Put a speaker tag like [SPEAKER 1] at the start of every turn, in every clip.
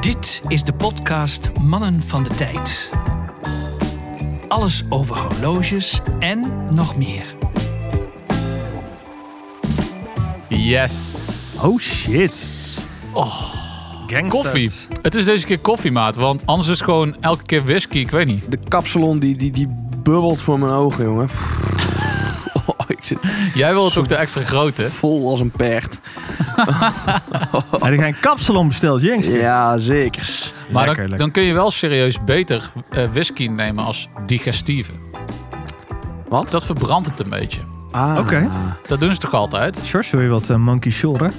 [SPEAKER 1] Dit is de podcast Mannen van de Tijd. Alles over horloges en nog meer.
[SPEAKER 2] Yes.
[SPEAKER 3] Oh shit. Oh. Gangsters.
[SPEAKER 2] Koffie. Het is deze keer koffiemaat, want anders is het gewoon elke keer whisky, ik weet niet.
[SPEAKER 4] De kapsalon die, die, die bubbelt voor mijn ogen, jongen. Oh, ik zit
[SPEAKER 2] Jij wil het ook de extra grote.
[SPEAKER 4] vol als een paard.
[SPEAKER 3] Heb je geen kapsalon besteld, Jinx?
[SPEAKER 4] Ja, zeker.
[SPEAKER 2] Maar dan,
[SPEAKER 3] Lekker, lekker.
[SPEAKER 2] dan kun je wel serieus beter eh, whisky nemen als digestieve.
[SPEAKER 4] Wat?
[SPEAKER 2] Dat verbrandt het een beetje.
[SPEAKER 4] Ah.
[SPEAKER 3] Oké.
[SPEAKER 2] Dat doen ze toch altijd?
[SPEAKER 3] Sjors, wil je wat eh, monkey shoulder?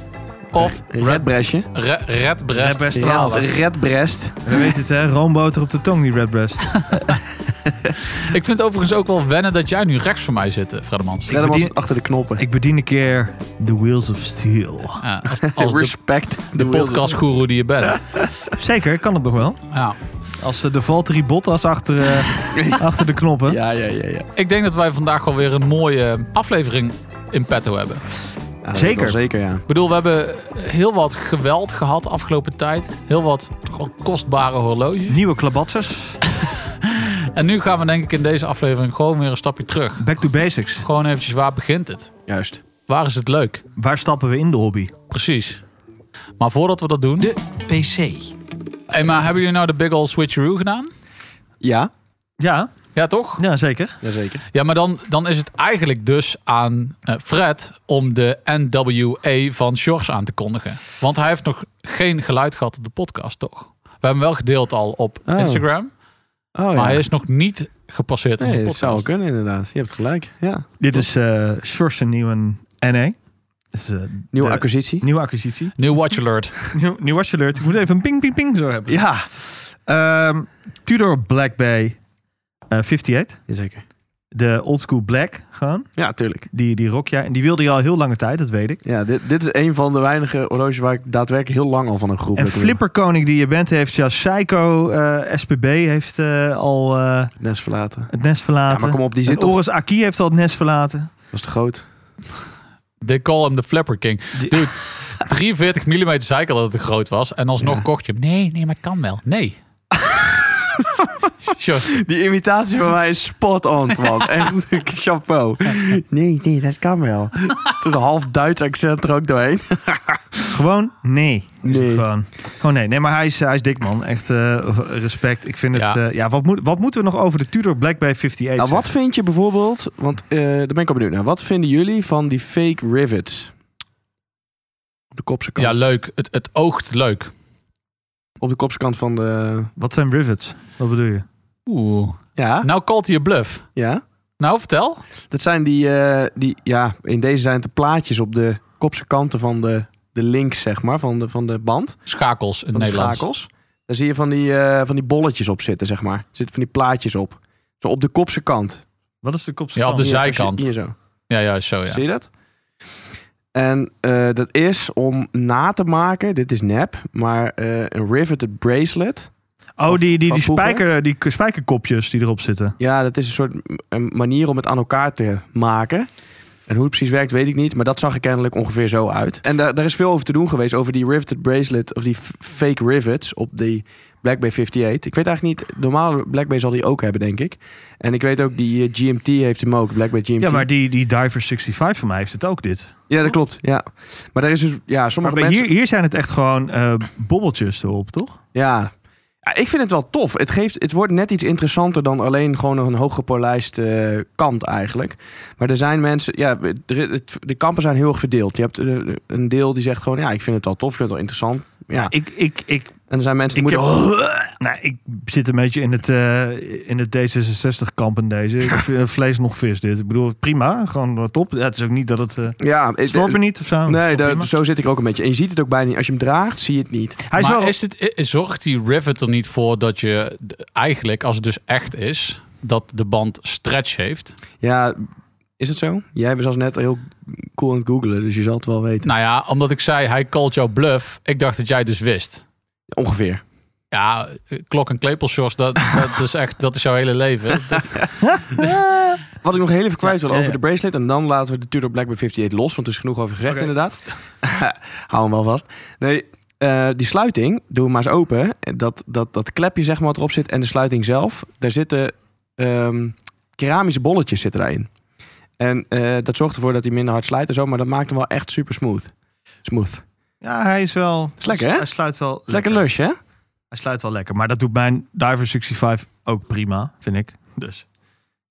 [SPEAKER 2] Of
[SPEAKER 4] Redbreastje.
[SPEAKER 2] re Red Breast.
[SPEAKER 3] Redbreast.
[SPEAKER 4] Ja,
[SPEAKER 3] Stralen.
[SPEAKER 4] redbreast.
[SPEAKER 3] We weten het, hè? Roomboter op de tong, die redbreast.
[SPEAKER 2] Ik vind overigens ook wel wennen dat jij nu rechts voor mij zit, eh, Fredemans.
[SPEAKER 4] Redden was
[SPEAKER 3] bedien-
[SPEAKER 4] het achter de knoppen.
[SPEAKER 3] Ik bedien een keer The Wheels of Steel.
[SPEAKER 2] Ja, als als de
[SPEAKER 4] Respect. De
[SPEAKER 2] podcastgoeroe die je bent.
[SPEAKER 3] Zeker, kan het nog wel.
[SPEAKER 2] Ja.
[SPEAKER 3] Als eh, de Valtteri Bottas achter, eh, achter de knoppen.
[SPEAKER 4] Ja, ja, ja. ja.
[SPEAKER 2] Ik denk dat wij vandaag wel weer een mooie aflevering in petto hebben.
[SPEAKER 4] Ja, dat
[SPEAKER 3] Zeker.
[SPEAKER 4] wel Zeker, ja.
[SPEAKER 2] Ik bedoel, we hebben heel wat geweld gehad de afgelopen tijd. Heel wat toch wel kostbare horloges.
[SPEAKER 3] Nieuwe klabatsers.
[SPEAKER 2] En nu gaan we denk ik in deze aflevering gewoon weer een stapje terug.
[SPEAKER 3] Back to basics.
[SPEAKER 2] Gewoon eventjes, waar begint het?
[SPEAKER 4] Juist.
[SPEAKER 2] Waar is het leuk?
[SPEAKER 3] Waar stappen we in de hobby?
[SPEAKER 2] Precies. Maar voordat we dat doen...
[SPEAKER 1] De PC.
[SPEAKER 2] Hey, maar hebben jullie nou de Big Ol' Switcheroo gedaan?
[SPEAKER 4] Ja,
[SPEAKER 3] Ja,
[SPEAKER 2] Ja, toch?
[SPEAKER 3] ja zeker.
[SPEAKER 4] jazeker.
[SPEAKER 2] Ja, maar dan, dan is het eigenlijk dus aan eh, Fred om de NWA van Sjors aan te kondigen. Want hij heeft nog geen geluid gehad op de podcast, toch? We hebben hem wel gedeeld al op
[SPEAKER 4] Oh.
[SPEAKER 2] Instagram,
[SPEAKER 4] Oh, ja.
[SPEAKER 2] maar hij is nog niet gepasseerd op
[SPEAKER 4] nee,
[SPEAKER 2] de
[SPEAKER 4] dat zou wel
[SPEAKER 2] podcast.
[SPEAKER 4] kunnen inderdaad. Je hebt gelijk. Ja.
[SPEAKER 3] Dit is eh Sjors een nieuwe NA. Dus, eh,
[SPEAKER 4] Nieuwe
[SPEAKER 3] de-
[SPEAKER 4] acquisitie.
[SPEAKER 3] Nieuwe acquisitie.
[SPEAKER 2] Nieuw watch alert.
[SPEAKER 3] Nieuw, nieuw watch alert. Ik moet even een ping, ping, ping zo hebben.
[SPEAKER 4] Ja,
[SPEAKER 3] Ehm, Tudor Black Bay eh, 58.
[SPEAKER 4] zeker.
[SPEAKER 3] De old school black gewoon.
[SPEAKER 4] Ja, tuurlijk.
[SPEAKER 3] Die, die rok jij. En die wilde je al heel lange tijd, dat weet ik.
[SPEAKER 4] Ja, dit, dit is een van de weinige horloges waar ik daadwerkelijk heel lang al van een groep
[SPEAKER 3] En
[SPEAKER 4] heb.
[SPEAKER 3] flipperkoning die je bent heeft ja Psycho eh, SPB heeft eh, al eh,
[SPEAKER 4] Nes verlaten.
[SPEAKER 3] het nest
[SPEAKER 4] Ja,
[SPEAKER 3] verlaten.
[SPEAKER 4] maar kom op, die
[SPEAKER 3] En
[SPEAKER 4] zit toch.
[SPEAKER 3] Oris Aki heeft al het nest verlaten.
[SPEAKER 4] Dat is te groot.
[SPEAKER 2] They call hem de Flapper King.
[SPEAKER 3] Die-
[SPEAKER 2] Dude, 43 mm zei ik al dat het te groot was. En alsnog
[SPEAKER 4] Ja.
[SPEAKER 2] kocht je hem. Nee, nee, maar het kan wel. Nee. Sjors,
[SPEAKER 4] Die imitatie van mij is spot on, man. Echt chapeau. Nee, nee, dat kan wel. Toen een half Duits accent er ook doorheen.
[SPEAKER 3] Gewoon nee. Is
[SPEAKER 4] Nee.
[SPEAKER 3] het gewoon. gewoon nee. Nee, maar hij is, hij is dik, man. Echt eh, respect. Ik vind
[SPEAKER 2] Ja.
[SPEAKER 3] het... eh, ja, wat, moet, wat moeten we nog over de Tudor Black Bay 58
[SPEAKER 4] Nou, wat vind je bijvoorbeeld, want eh, daar ben ik al benieuwd naar. Wat vinden jullie van die fake rivets? Op de kopse kant.
[SPEAKER 2] ja, leuk. Het, het oogt leuk.
[SPEAKER 4] Op de kopse kant van de...
[SPEAKER 3] Wat zijn rivets? Wat bedoel je?
[SPEAKER 2] Oeh.
[SPEAKER 4] Ja,
[SPEAKER 2] Nou called hij je bluff.
[SPEAKER 4] ja.
[SPEAKER 2] Nou, vertel.
[SPEAKER 4] Dat zijn die, eh, die... Ja, in deze zijn het de plaatjes op de kopse kanten van de, de links, zeg maar. Van de, van de band,
[SPEAKER 2] Schakels in
[SPEAKER 4] van de
[SPEAKER 2] Nederland.
[SPEAKER 4] schakels. Daar zie je van die, eh, van die bolletjes op zitten, zeg maar. Er zitten van die plaatjes op. Zo op de kopse kant.
[SPEAKER 3] Wat is de kopse
[SPEAKER 2] Ja, op de
[SPEAKER 3] kant?
[SPEAKER 4] Hier, als je-
[SPEAKER 2] zijkant.
[SPEAKER 4] Hier zo.
[SPEAKER 2] Ja, ja, zo ja.
[SPEAKER 4] Zie je dat? En eh, dat is om na te maken, dit is nep, maar eh, een riveted bracelet.
[SPEAKER 3] Oh, die, die,
[SPEAKER 4] Van
[SPEAKER 3] die,
[SPEAKER 4] vroeger?
[SPEAKER 3] spijker, die k- spijkerkopjes die erop zitten.
[SPEAKER 4] Ja, dat is een soort m- een manier om het aan elkaar te maken. En hoe het precies werkt, weet ik niet, maar dat zag er kennelijk ongeveer zo uit. En daar, daar is veel over te doen geweest, over die riveted bracelet, of die f- fake rivets op die Black Bay 58. Ik weet eigenlijk niet, normaal Black Bay zal die ook hebben, denk ik. En ik weet ook, die eh, GMT heeft hem ook, Black Bay GMT.
[SPEAKER 3] Ja, maar die, die Diver 65 van mij heeft het ook dit.
[SPEAKER 4] ja dat klopt, ja. Maar daar is dus, ja,
[SPEAKER 3] Maar
[SPEAKER 4] sommige
[SPEAKER 3] bij-
[SPEAKER 4] mensen...
[SPEAKER 3] hier, hier zijn het echt gewoon eh, bobbeltjes erop, toch?
[SPEAKER 4] Ja. Ja, ik vind het wel tof. Het, geeft, het wordt net iets interessanter dan alleen gewoon een hooggepolijst eh, kant eigenlijk. Maar er zijn mensen, ja, er- het- de kampen zijn heel erg verdeeld. Je hebt eh, een deel die zegt gewoon, ja, ik vind het wel tof, ik vind het wel interessant. Ja.
[SPEAKER 3] Ik, ik, ik,
[SPEAKER 4] En er zijn mensen
[SPEAKER 3] ik,
[SPEAKER 4] die
[SPEAKER 3] heb,
[SPEAKER 4] moeten...
[SPEAKER 3] nou, ik zit een beetje in het, eh, in het D66-kamp in deze. Ik vind eh, vlees nog vis dit. Ik bedoel, prima. Gewoon eh, top. Ja, het is ook niet dat het... eh
[SPEAKER 4] ja, het-
[SPEAKER 3] Snor me niet of zo. Dat
[SPEAKER 4] Nee,
[SPEAKER 3] is wel
[SPEAKER 4] daar-
[SPEAKER 3] prima.
[SPEAKER 4] zo zit ik ook een beetje. En je ziet het ook bijna niet. Als je hem draagt, zie je het niet.
[SPEAKER 3] Hij is
[SPEAKER 2] maar
[SPEAKER 3] wel...
[SPEAKER 2] is dit, i- zorgt die rivet er niet voor dat je d- eigenlijk, als het dus echt is, dat de band stretch heeft?
[SPEAKER 4] Ja, is het zo? Jij was net heel cool aan het googlen, dus je zal het wel weten.
[SPEAKER 2] Nou ja, omdat ik zei, hij called jouw bluff. Ik dacht dat jij dus wist.
[SPEAKER 4] Ongeveer.
[SPEAKER 2] Ja, eh, klok- en klepelshorts, dat, dat is echt, dat is jouw hele leven. Dat-
[SPEAKER 4] Wat ik nog heel even kwijt wil
[SPEAKER 3] Ja, ja,
[SPEAKER 4] over
[SPEAKER 3] ja.
[SPEAKER 4] de bracelet. En dan laten we de Tudor Black Bay 58 los. Want er is genoeg over gezegd
[SPEAKER 3] Oké.
[SPEAKER 4] inderdaad. Hou hem wel vast. Nee, eh, eh, die sluiting, doe hem maar eens open. Dat, dat, dat klepje zeg maar wat erop zit en de sluiting zelf. Daar zitten ehm, keramische bolletjes zitten daarin. En eh, dat zorgt ervoor dat hij minder hard slijt en zo. Maar dat maakt hem wel echt super smooth. Smooth.
[SPEAKER 3] Ja, hij is wel...
[SPEAKER 4] Is lekker, hè?
[SPEAKER 3] Hij sluit wel lekker.
[SPEAKER 4] Lekker lush, hè?
[SPEAKER 3] Hij sluit wel lekker. Maar dat doet mijn Diver 65 ook prima, vind ik. Dus...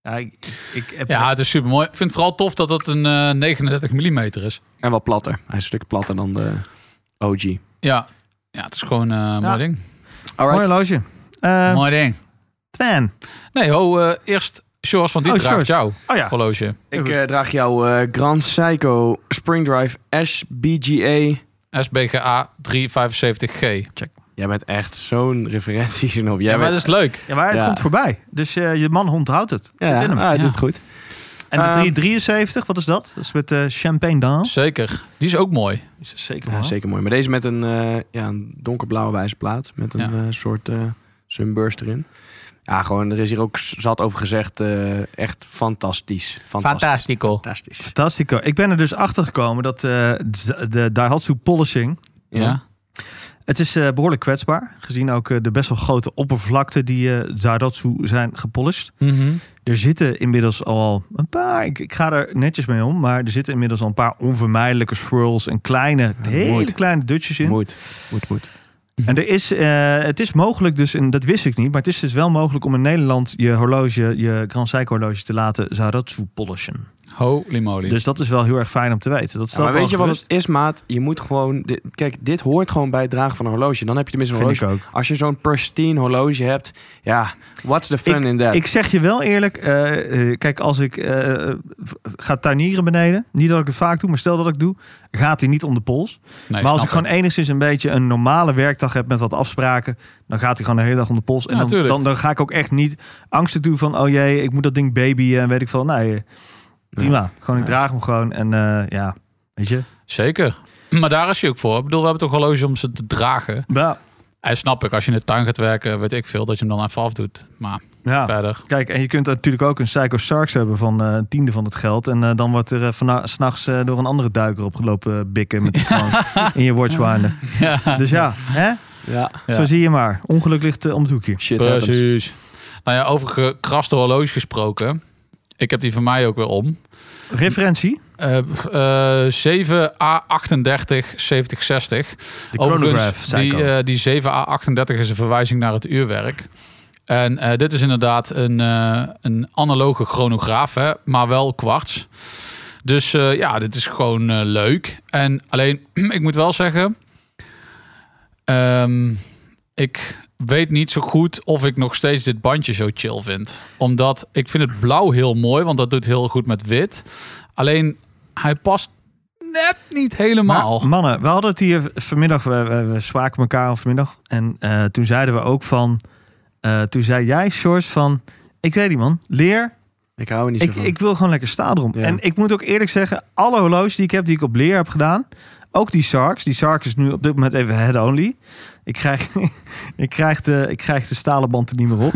[SPEAKER 3] Ja, ik, ik heb
[SPEAKER 2] Ja, het is super mooi. Ik vind het vooral tof dat het een eh, 39 mm is.
[SPEAKER 4] En wat platter. Hij is een stuk platter dan de OG.
[SPEAKER 2] Ja, ja het is gewoon eh mooi ding.
[SPEAKER 3] Mooi
[SPEAKER 4] Alright.
[SPEAKER 3] horloge. Eh,
[SPEAKER 2] mooi ding.
[SPEAKER 3] Twan.
[SPEAKER 2] Nee, ho, eh, eerst Sjors, want die
[SPEAKER 3] Oh,
[SPEAKER 2] draagt
[SPEAKER 3] Sjors.
[SPEAKER 2] jou
[SPEAKER 3] Oh ja.
[SPEAKER 2] horloge.
[SPEAKER 4] Ik eh, draag jouw eh, Grand Psycho Spring Drive Ash BGA.
[SPEAKER 2] SBGA 375G.
[SPEAKER 4] Jij bent echt zo'n referentie op. Jij
[SPEAKER 2] Ja, maar
[SPEAKER 4] bent...
[SPEAKER 2] dat is leuk.
[SPEAKER 3] Ja, maar het
[SPEAKER 4] Ja.
[SPEAKER 3] komt voorbij. Dus eh, je man onthoudt het.
[SPEAKER 4] Ja,
[SPEAKER 3] Zit in hem.
[SPEAKER 4] ah, hij
[SPEAKER 2] Ja.
[SPEAKER 4] doet het goed.
[SPEAKER 3] En de
[SPEAKER 4] Ehm,
[SPEAKER 3] 373, wat is dat? Dat is met eh, champagne dans.
[SPEAKER 2] Zeker. Die is ook mooi.
[SPEAKER 3] Is zeker
[SPEAKER 4] Ja,
[SPEAKER 3] man.
[SPEAKER 4] zeker mooi. Maar deze met een, eh, ja, een donkerblauwe wijzerplaat. Met een eh, soort eh, sunburst erin. Ja, gewoon, er is hier ook z- zat over gezegd. eh, echt fantastisch. Fantastisch.
[SPEAKER 2] Fantastico.
[SPEAKER 4] Fantastisch.
[SPEAKER 3] Fantastico. Ik ben er dus achter gekomen dat eh, z- de Daihatsu polishing...
[SPEAKER 2] Ja.
[SPEAKER 3] Het is eh, behoorlijk kwetsbaar. Gezien ook eh, de best wel grote oppervlakte die eh Daihatsu zijn gepolished.
[SPEAKER 2] Mhm.
[SPEAKER 3] Er zitten inmiddels al een paar... Ik, ik ga er netjes mee om. Maar er zitten inmiddels al een paar onvermijdelijke swirls... en kleine, hele
[SPEAKER 4] mooi.
[SPEAKER 3] kleine dutjes in.
[SPEAKER 4] Moet, moet, moet.
[SPEAKER 3] En er is, eh, het is mogelijk dus, en dat wist ik niet, maar het is dus wel mogelijk om in Nederland je horloge, je Grand Seiko horloge te laten Zaratsu polishen.
[SPEAKER 2] Holy moly.
[SPEAKER 3] Dus dat is wel heel erg fijn om te weten. Dat is
[SPEAKER 4] Ja, maar
[SPEAKER 3] wel
[SPEAKER 4] weet je wat
[SPEAKER 3] gerust.
[SPEAKER 4] het is, maat? Je moet gewoon... dit- kijk, dit hoort gewoon bij het dragen van een horloge. Dan heb je tenminste een
[SPEAKER 3] vind
[SPEAKER 4] horloge.
[SPEAKER 3] ik ook.
[SPEAKER 4] Als je zo'n pristine horloge hebt, ja, what's the fun in that?
[SPEAKER 3] Ik zeg je wel eerlijk, eh, eh, kijk, als ik eh, v- ga tuinieren beneden, niet dat ik het vaak doe, maar stel dat ik doe, gaat hij niet om de pols.
[SPEAKER 2] Nee,
[SPEAKER 3] maar als
[SPEAKER 2] snap
[SPEAKER 3] ik gewoon enigszins een beetje een normale werkdag heb met wat afspraken, dan gaat hij gewoon de hele dag om de pols. En
[SPEAKER 2] Ja,
[SPEAKER 3] dan,
[SPEAKER 2] tuurlijk.
[SPEAKER 3] dan, dan ga ik ook echt niet angsten toe van, oh jee, ik moet dat ding babyen en weet ik veel. Nee, eh, prima. Gewoon, ik
[SPEAKER 4] Ja.
[SPEAKER 3] draag hem gewoon en eh, ja, weet je.
[SPEAKER 2] Zeker. Maar daar is je ook voor. Ik bedoel, we hebben toch horloges om ze te dragen.
[SPEAKER 3] Ja,
[SPEAKER 2] En snap ik, als je in de tuin gaat werken, weet ik veel, dat je hem dan even afdoet. Maar
[SPEAKER 3] ja.
[SPEAKER 2] verder.
[SPEAKER 3] Kijk, en je kunt natuurlijk ook een Psycho Sarks hebben van eh, een tiende van het geld. En eh, dan wordt er eh, vana- 's s'nachts door een andere duiker opgelopen eh, bikken met de kroon in je watchwinder.
[SPEAKER 2] Ja,
[SPEAKER 3] Dus ja, hè?
[SPEAKER 4] ja,
[SPEAKER 2] Ja.
[SPEAKER 3] zo zie je maar. Ongeluk ligt eh, om het hoekje.
[SPEAKER 4] shit happens.
[SPEAKER 2] precies. Nou ja, over gekraste horloges gesproken. Ik heb die van mij ook weer om.
[SPEAKER 3] Referentie,
[SPEAKER 2] Eh eh 7A38 7060.
[SPEAKER 3] de chronograph
[SPEAKER 2] die,
[SPEAKER 3] Psycho.
[SPEAKER 2] eh, die 7A38 is een verwijzing naar het uurwerk. En eh, dit is inderdaad een, eh, een analoge chronograaf, hè, maar wel kwarts. Dus eh, ja, dit is gewoon eh, leuk. En alleen, ik moet wel zeggen, ehm, ik weet niet zo goed of ik nog steeds dit bandje zo chill vind. Omdat ik vind het blauw heel mooi, want dat doet heel goed met wit. Alleen, hij past net niet helemaal.
[SPEAKER 3] Maar, mannen, we hadden het hier vanmiddag, we, we, we spraken elkaar al vanmiddag. En eh, toen zeiden we ook van, eh, toen zei jij, Sjors, van, ik weet niet man, leer
[SPEAKER 4] Ik hou er niet
[SPEAKER 3] Ik,
[SPEAKER 4] zo van.
[SPEAKER 3] ik wil gewoon lekker staan erom.
[SPEAKER 4] Ja.
[SPEAKER 3] En ik moet ook eerlijk zeggen, alle horloges die ik heb, die ik op leer heb gedaan, ook die Sarks, die Sarks is nu op dit moment even head only. Ik krijg, ik krijg, de, ik krijg de stalen band er niet meer op.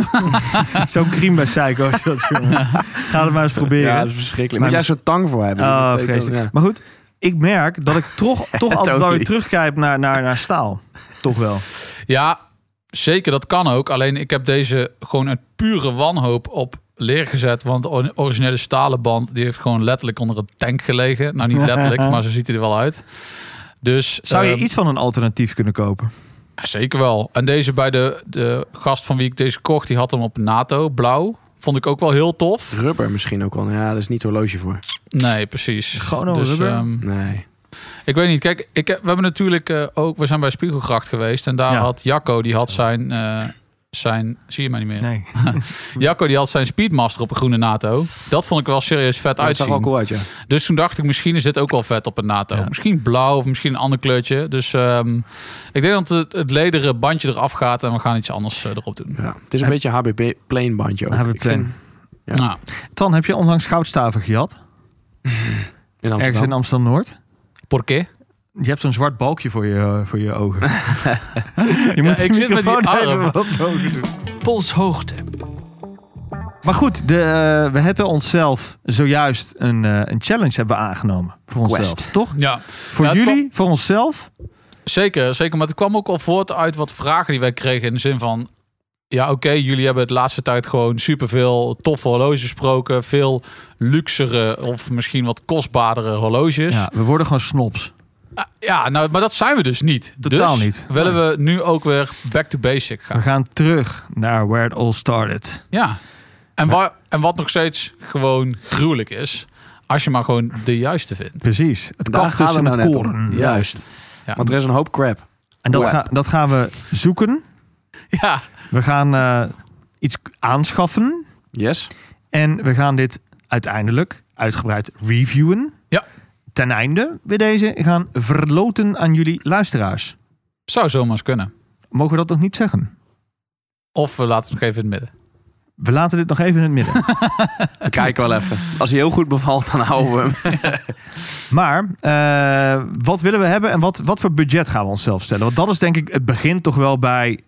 [SPEAKER 3] Zo'n kriem bij Psycho is dat, jongen. Ga het maar eens proberen.
[SPEAKER 4] Ja, dat is verschrikkelijk.
[SPEAKER 3] Maar
[SPEAKER 4] Moet jij zo'n tang voor hebben?
[SPEAKER 3] Oh,
[SPEAKER 4] Dat betekent-
[SPEAKER 3] vreselijk.
[SPEAKER 4] ja.
[SPEAKER 3] Maar goed, ik merk dat ik toch, toch altijd wel
[SPEAKER 4] Totally.
[SPEAKER 3] weer terugkijk naar, naar, naar staal. Toch wel.
[SPEAKER 2] Ja, zeker, dat kan ook. Alleen ik heb deze gewoon uit pure wanhoop op leer gezet. Want de or- originele stalen band die heeft gewoon letterlijk onder een tank gelegen. Nou, niet letterlijk, maar zo ziet hij er wel uit. Dus
[SPEAKER 3] Zou je
[SPEAKER 2] ehm,
[SPEAKER 3] iets van een alternatief kunnen kopen?
[SPEAKER 2] ja, Zeker wel. En deze bij de, de gast van wie ik deze kocht, die had hem op NATO, blauw. Vond ik ook wel heel tof.
[SPEAKER 4] Rubber misschien ook wel. Ja, dat is niet horloge voor.
[SPEAKER 2] Nee, precies.
[SPEAKER 3] Gewoon een rubber?
[SPEAKER 2] ehm,
[SPEAKER 4] Nee.
[SPEAKER 2] Ik weet niet. Kijk, ik, heb- we hebben natuurlijk eh, ook... We zijn bij Spiegelgracht geweest. En daar
[SPEAKER 3] Ja.
[SPEAKER 2] had Jacco, die had zijn... eh, zijn zie je mij niet meer?
[SPEAKER 3] Nee.
[SPEAKER 2] Jacco die had zijn Speedmaster op een groene NATO. Dat vond ik wel serieus vet
[SPEAKER 4] Dat zag
[SPEAKER 2] uitzien.
[SPEAKER 4] wel cool uit, ja.
[SPEAKER 2] Dus toen dacht ik, misschien is dit ook wel vet op een NATO.
[SPEAKER 3] Ja.
[SPEAKER 2] Misschien blauw of misschien een ander kleurtje. Dus ehm, ik denk dat het, het lederen bandje eraf gaat en we gaan iets anders eh, erop doen.
[SPEAKER 4] ja. Het is een
[SPEAKER 3] En-
[SPEAKER 4] beetje HBP plain bandje ook.
[SPEAKER 3] HBP
[SPEAKER 4] Ik vind- Ja.
[SPEAKER 2] Nou,
[SPEAKER 3] Tan, heb je onlangs goudstaven gehad?
[SPEAKER 4] In
[SPEAKER 3] Ergens in
[SPEAKER 4] Amsterdam.
[SPEAKER 3] Amsterdam-Noord?
[SPEAKER 2] por qué?
[SPEAKER 3] Je hebt zo'n zwart balkje voor je, eh, voor je ogen. je
[SPEAKER 2] Ja, ik zit met die
[SPEAKER 3] even
[SPEAKER 2] arm.
[SPEAKER 3] wat hoger doen.
[SPEAKER 1] polshoogte,
[SPEAKER 3] Maar goed, de, eh, we hebben onszelf zojuist een, eh, een challenge hebben we aangenomen. Voor onszelf,
[SPEAKER 4] Quest.
[SPEAKER 3] toch?
[SPEAKER 2] Ja.
[SPEAKER 3] Voor
[SPEAKER 2] Ja, het
[SPEAKER 3] jullie, voor onszelf.
[SPEAKER 2] Zeker, zeker. Maar het kwam ook al voort uit wat vragen die wij kregen. In de zin van, ja oké, jullie hebben de laatste tijd gewoon superveel toffe horloges besproken. Veel luxere of misschien wat kostbaardere horloges.
[SPEAKER 3] Ja, we worden gewoon snobs.
[SPEAKER 2] Ah, ja nou, maar dat zijn we dus niet.
[SPEAKER 3] Totaal
[SPEAKER 2] Dus
[SPEAKER 3] niet.
[SPEAKER 2] willen we nu ook weer back to basic gaan.
[SPEAKER 3] We gaan terug naar where it all started.
[SPEAKER 2] Ja. En, wa- en wat nog steeds gewoon gruwelijk is. Als je maar gewoon de juiste vindt.
[SPEAKER 3] Precies. Het
[SPEAKER 4] Daar
[SPEAKER 3] kaf
[SPEAKER 4] gaat
[SPEAKER 3] tussen
[SPEAKER 4] het
[SPEAKER 3] het
[SPEAKER 4] nou net om.
[SPEAKER 3] koren.
[SPEAKER 4] Ja. Juist.
[SPEAKER 2] Ja.
[SPEAKER 4] Want er is een hoop crap.
[SPEAKER 3] En dat,
[SPEAKER 4] Crap.
[SPEAKER 3] ga- dat gaan we zoeken.
[SPEAKER 2] Ja.
[SPEAKER 3] We gaan eh, iets aanschaffen.
[SPEAKER 4] Yes.
[SPEAKER 3] En we gaan dit uiteindelijk uitgebreid reviewen.
[SPEAKER 2] Ja.
[SPEAKER 3] Ten einde we deze gaan verloten aan jullie luisteraars.
[SPEAKER 2] Zou zomaar eens kunnen.
[SPEAKER 3] Mogen we dat nog niet zeggen?
[SPEAKER 2] Of we laten het nog even in het midden.
[SPEAKER 3] We laten dit nog even in het midden.
[SPEAKER 4] We kijken wel even. Als hij heel goed bevalt, dan houden we hem.
[SPEAKER 3] Maar eh, wat willen we hebben en wat, wat voor budget gaan we onszelf stellen? Want dat is denk ik, het begint toch wel bij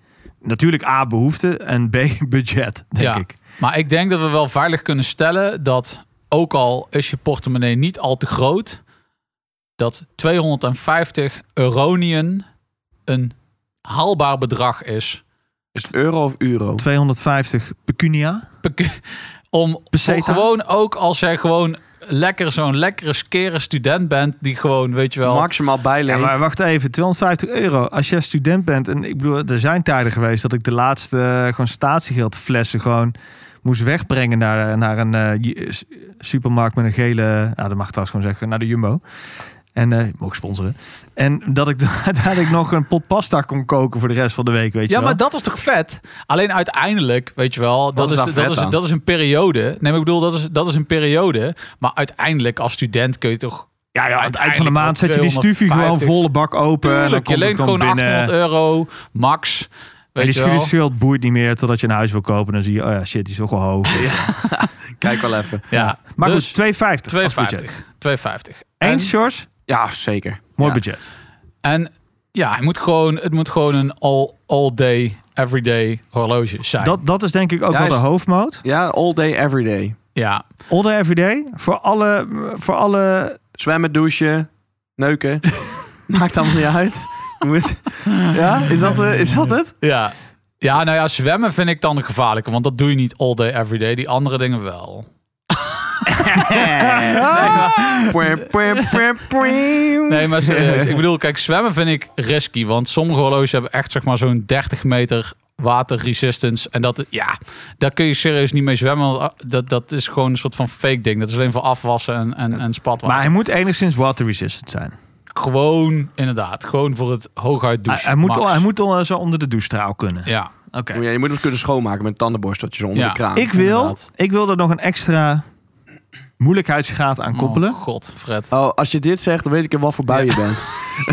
[SPEAKER 3] natuurlijk A, behoefte en B, budget, denk
[SPEAKER 2] Ja.
[SPEAKER 3] ik.
[SPEAKER 2] Maar ik denk dat we wel veilig kunnen stellen dat ook al is je portemonnee niet al te groot, dat 250 euroniën een haalbaar bedrag is.
[SPEAKER 4] Is het euro of euro?
[SPEAKER 3] 250 pecunia.
[SPEAKER 2] Pek- Om
[SPEAKER 3] Peseta?
[SPEAKER 2] gewoon ook als jij gewoon lekker zo'n lekkere skere student bent die gewoon, weet je wel,
[SPEAKER 4] Maximaal
[SPEAKER 3] Ja,
[SPEAKER 4] bijleent.
[SPEAKER 3] maar wacht even, 250 euro. Als jij student bent, en ik bedoel, er zijn tijden geweest dat ik de laatste eh, gewoon statiegeldflessen gewoon moest wegbrengen naar, naar een eh, ju- s- supermarkt met een gele, nou dat mag ik trouwens gewoon zeggen, naar de Jumbo. En eh mocht sponsoren. En dat ik dan uiteindelijk nog een pot pasta kon koken voor de rest van de week,
[SPEAKER 2] Ja,
[SPEAKER 3] weet je wel.
[SPEAKER 2] maar dat is toch vet? Alleen uiteindelijk, weet je wel, dat
[SPEAKER 4] is
[SPEAKER 2] is,
[SPEAKER 4] daar
[SPEAKER 2] dat,
[SPEAKER 4] vet
[SPEAKER 2] is,
[SPEAKER 4] aan?
[SPEAKER 2] dat is een periode. Nee, maar ik bedoel, dat is, dat is een periode. Maar uiteindelijk als student kun je toch...
[SPEAKER 3] Ja, ja, aan het eind van de
[SPEAKER 2] Uiteindelijk
[SPEAKER 3] maand zet je die stufie
[SPEAKER 2] 250.
[SPEAKER 3] gewoon volle bak open. en dan
[SPEAKER 2] Tuurlijk,
[SPEAKER 3] komt
[SPEAKER 2] je
[SPEAKER 3] het
[SPEAKER 2] leent
[SPEAKER 3] dan
[SPEAKER 2] gewoon
[SPEAKER 3] binnen.
[SPEAKER 2] 800 euro, max.
[SPEAKER 3] En die
[SPEAKER 2] Weet je wel.
[SPEAKER 3] studieschuld boeit niet meer totdat je een huis wil kopen. Dan zie je, oh ja, shit, die is wel gewoon hoog.
[SPEAKER 4] Kijk wel even.
[SPEAKER 2] Ja,
[SPEAKER 3] Maar
[SPEAKER 2] dus
[SPEAKER 3] goed, 2,50. als budget.
[SPEAKER 2] 250. 250. En,
[SPEAKER 3] Eens, George?
[SPEAKER 4] Ja, zeker.
[SPEAKER 3] Mooi
[SPEAKER 4] Ja.
[SPEAKER 3] budget.
[SPEAKER 2] en ja, het moet gewoon, het moet gewoon een all, all day, everyday horloge zijn.
[SPEAKER 3] Dat, dat is denk ik ook wel
[SPEAKER 4] Juist.
[SPEAKER 3] de hoofdmoot.
[SPEAKER 4] Ja, all day, every day.
[SPEAKER 2] ja.
[SPEAKER 3] All day, every day. Voor alle, voor alle...
[SPEAKER 4] Zwemmen, douchen, neuken. Maakt allemaal niet uit. Je moet- Ja, is dat, eh, is dat het?
[SPEAKER 2] Ja. Ja, nou ja, zwemmen vind ik dan een gevaarlijke, want dat doe je niet all day, every day. Die andere dingen wel.
[SPEAKER 4] Pwem, pwem, pwem, pwem.
[SPEAKER 2] Nee, maar serieus. ik bedoel, kijk, zwemmen vind ik risky. Want sommige horloges hebben echt zeg maar zo'n 30 meter waterresistance. En dat, ja, daar kun je serieus niet mee zwemmen. Want ah, dat, dat is gewoon een soort van fake ding. Dat is alleen voor afwassen en, en, en spatwater.
[SPEAKER 3] Maar hij moet enigszins water resistant zijn.
[SPEAKER 2] Gewoon, inderdaad. Gewoon voor het hooguit
[SPEAKER 3] Hij,
[SPEAKER 2] douchen.
[SPEAKER 3] hij moet,
[SPEAKER 2] max.
[SPEAKER 3] hij moet al zo onder de douchestraal kunnen.
[SPEAKER 2] Ja.
[SPEAKER 3] Oké.
[SPEAKER 4] Ja, je moet hem kunnen schoonmaken met een tandenborsteltje zo onder
[SPEAKER 2] Ja.
[SPEAKER 4] de kraan.
[SPEAKER 3] Ik, wil,
[SPEAKER 2] inderdaad.
[SPEAKER 3] ik wil er nog een extra moeilijkheidsgraad aan koppelen.
[SPEAKER 2] Oh, god, Fred.
[SPEAKER 4] Oh, als je dit zegt, dan weet ik in wat voor bui je bent.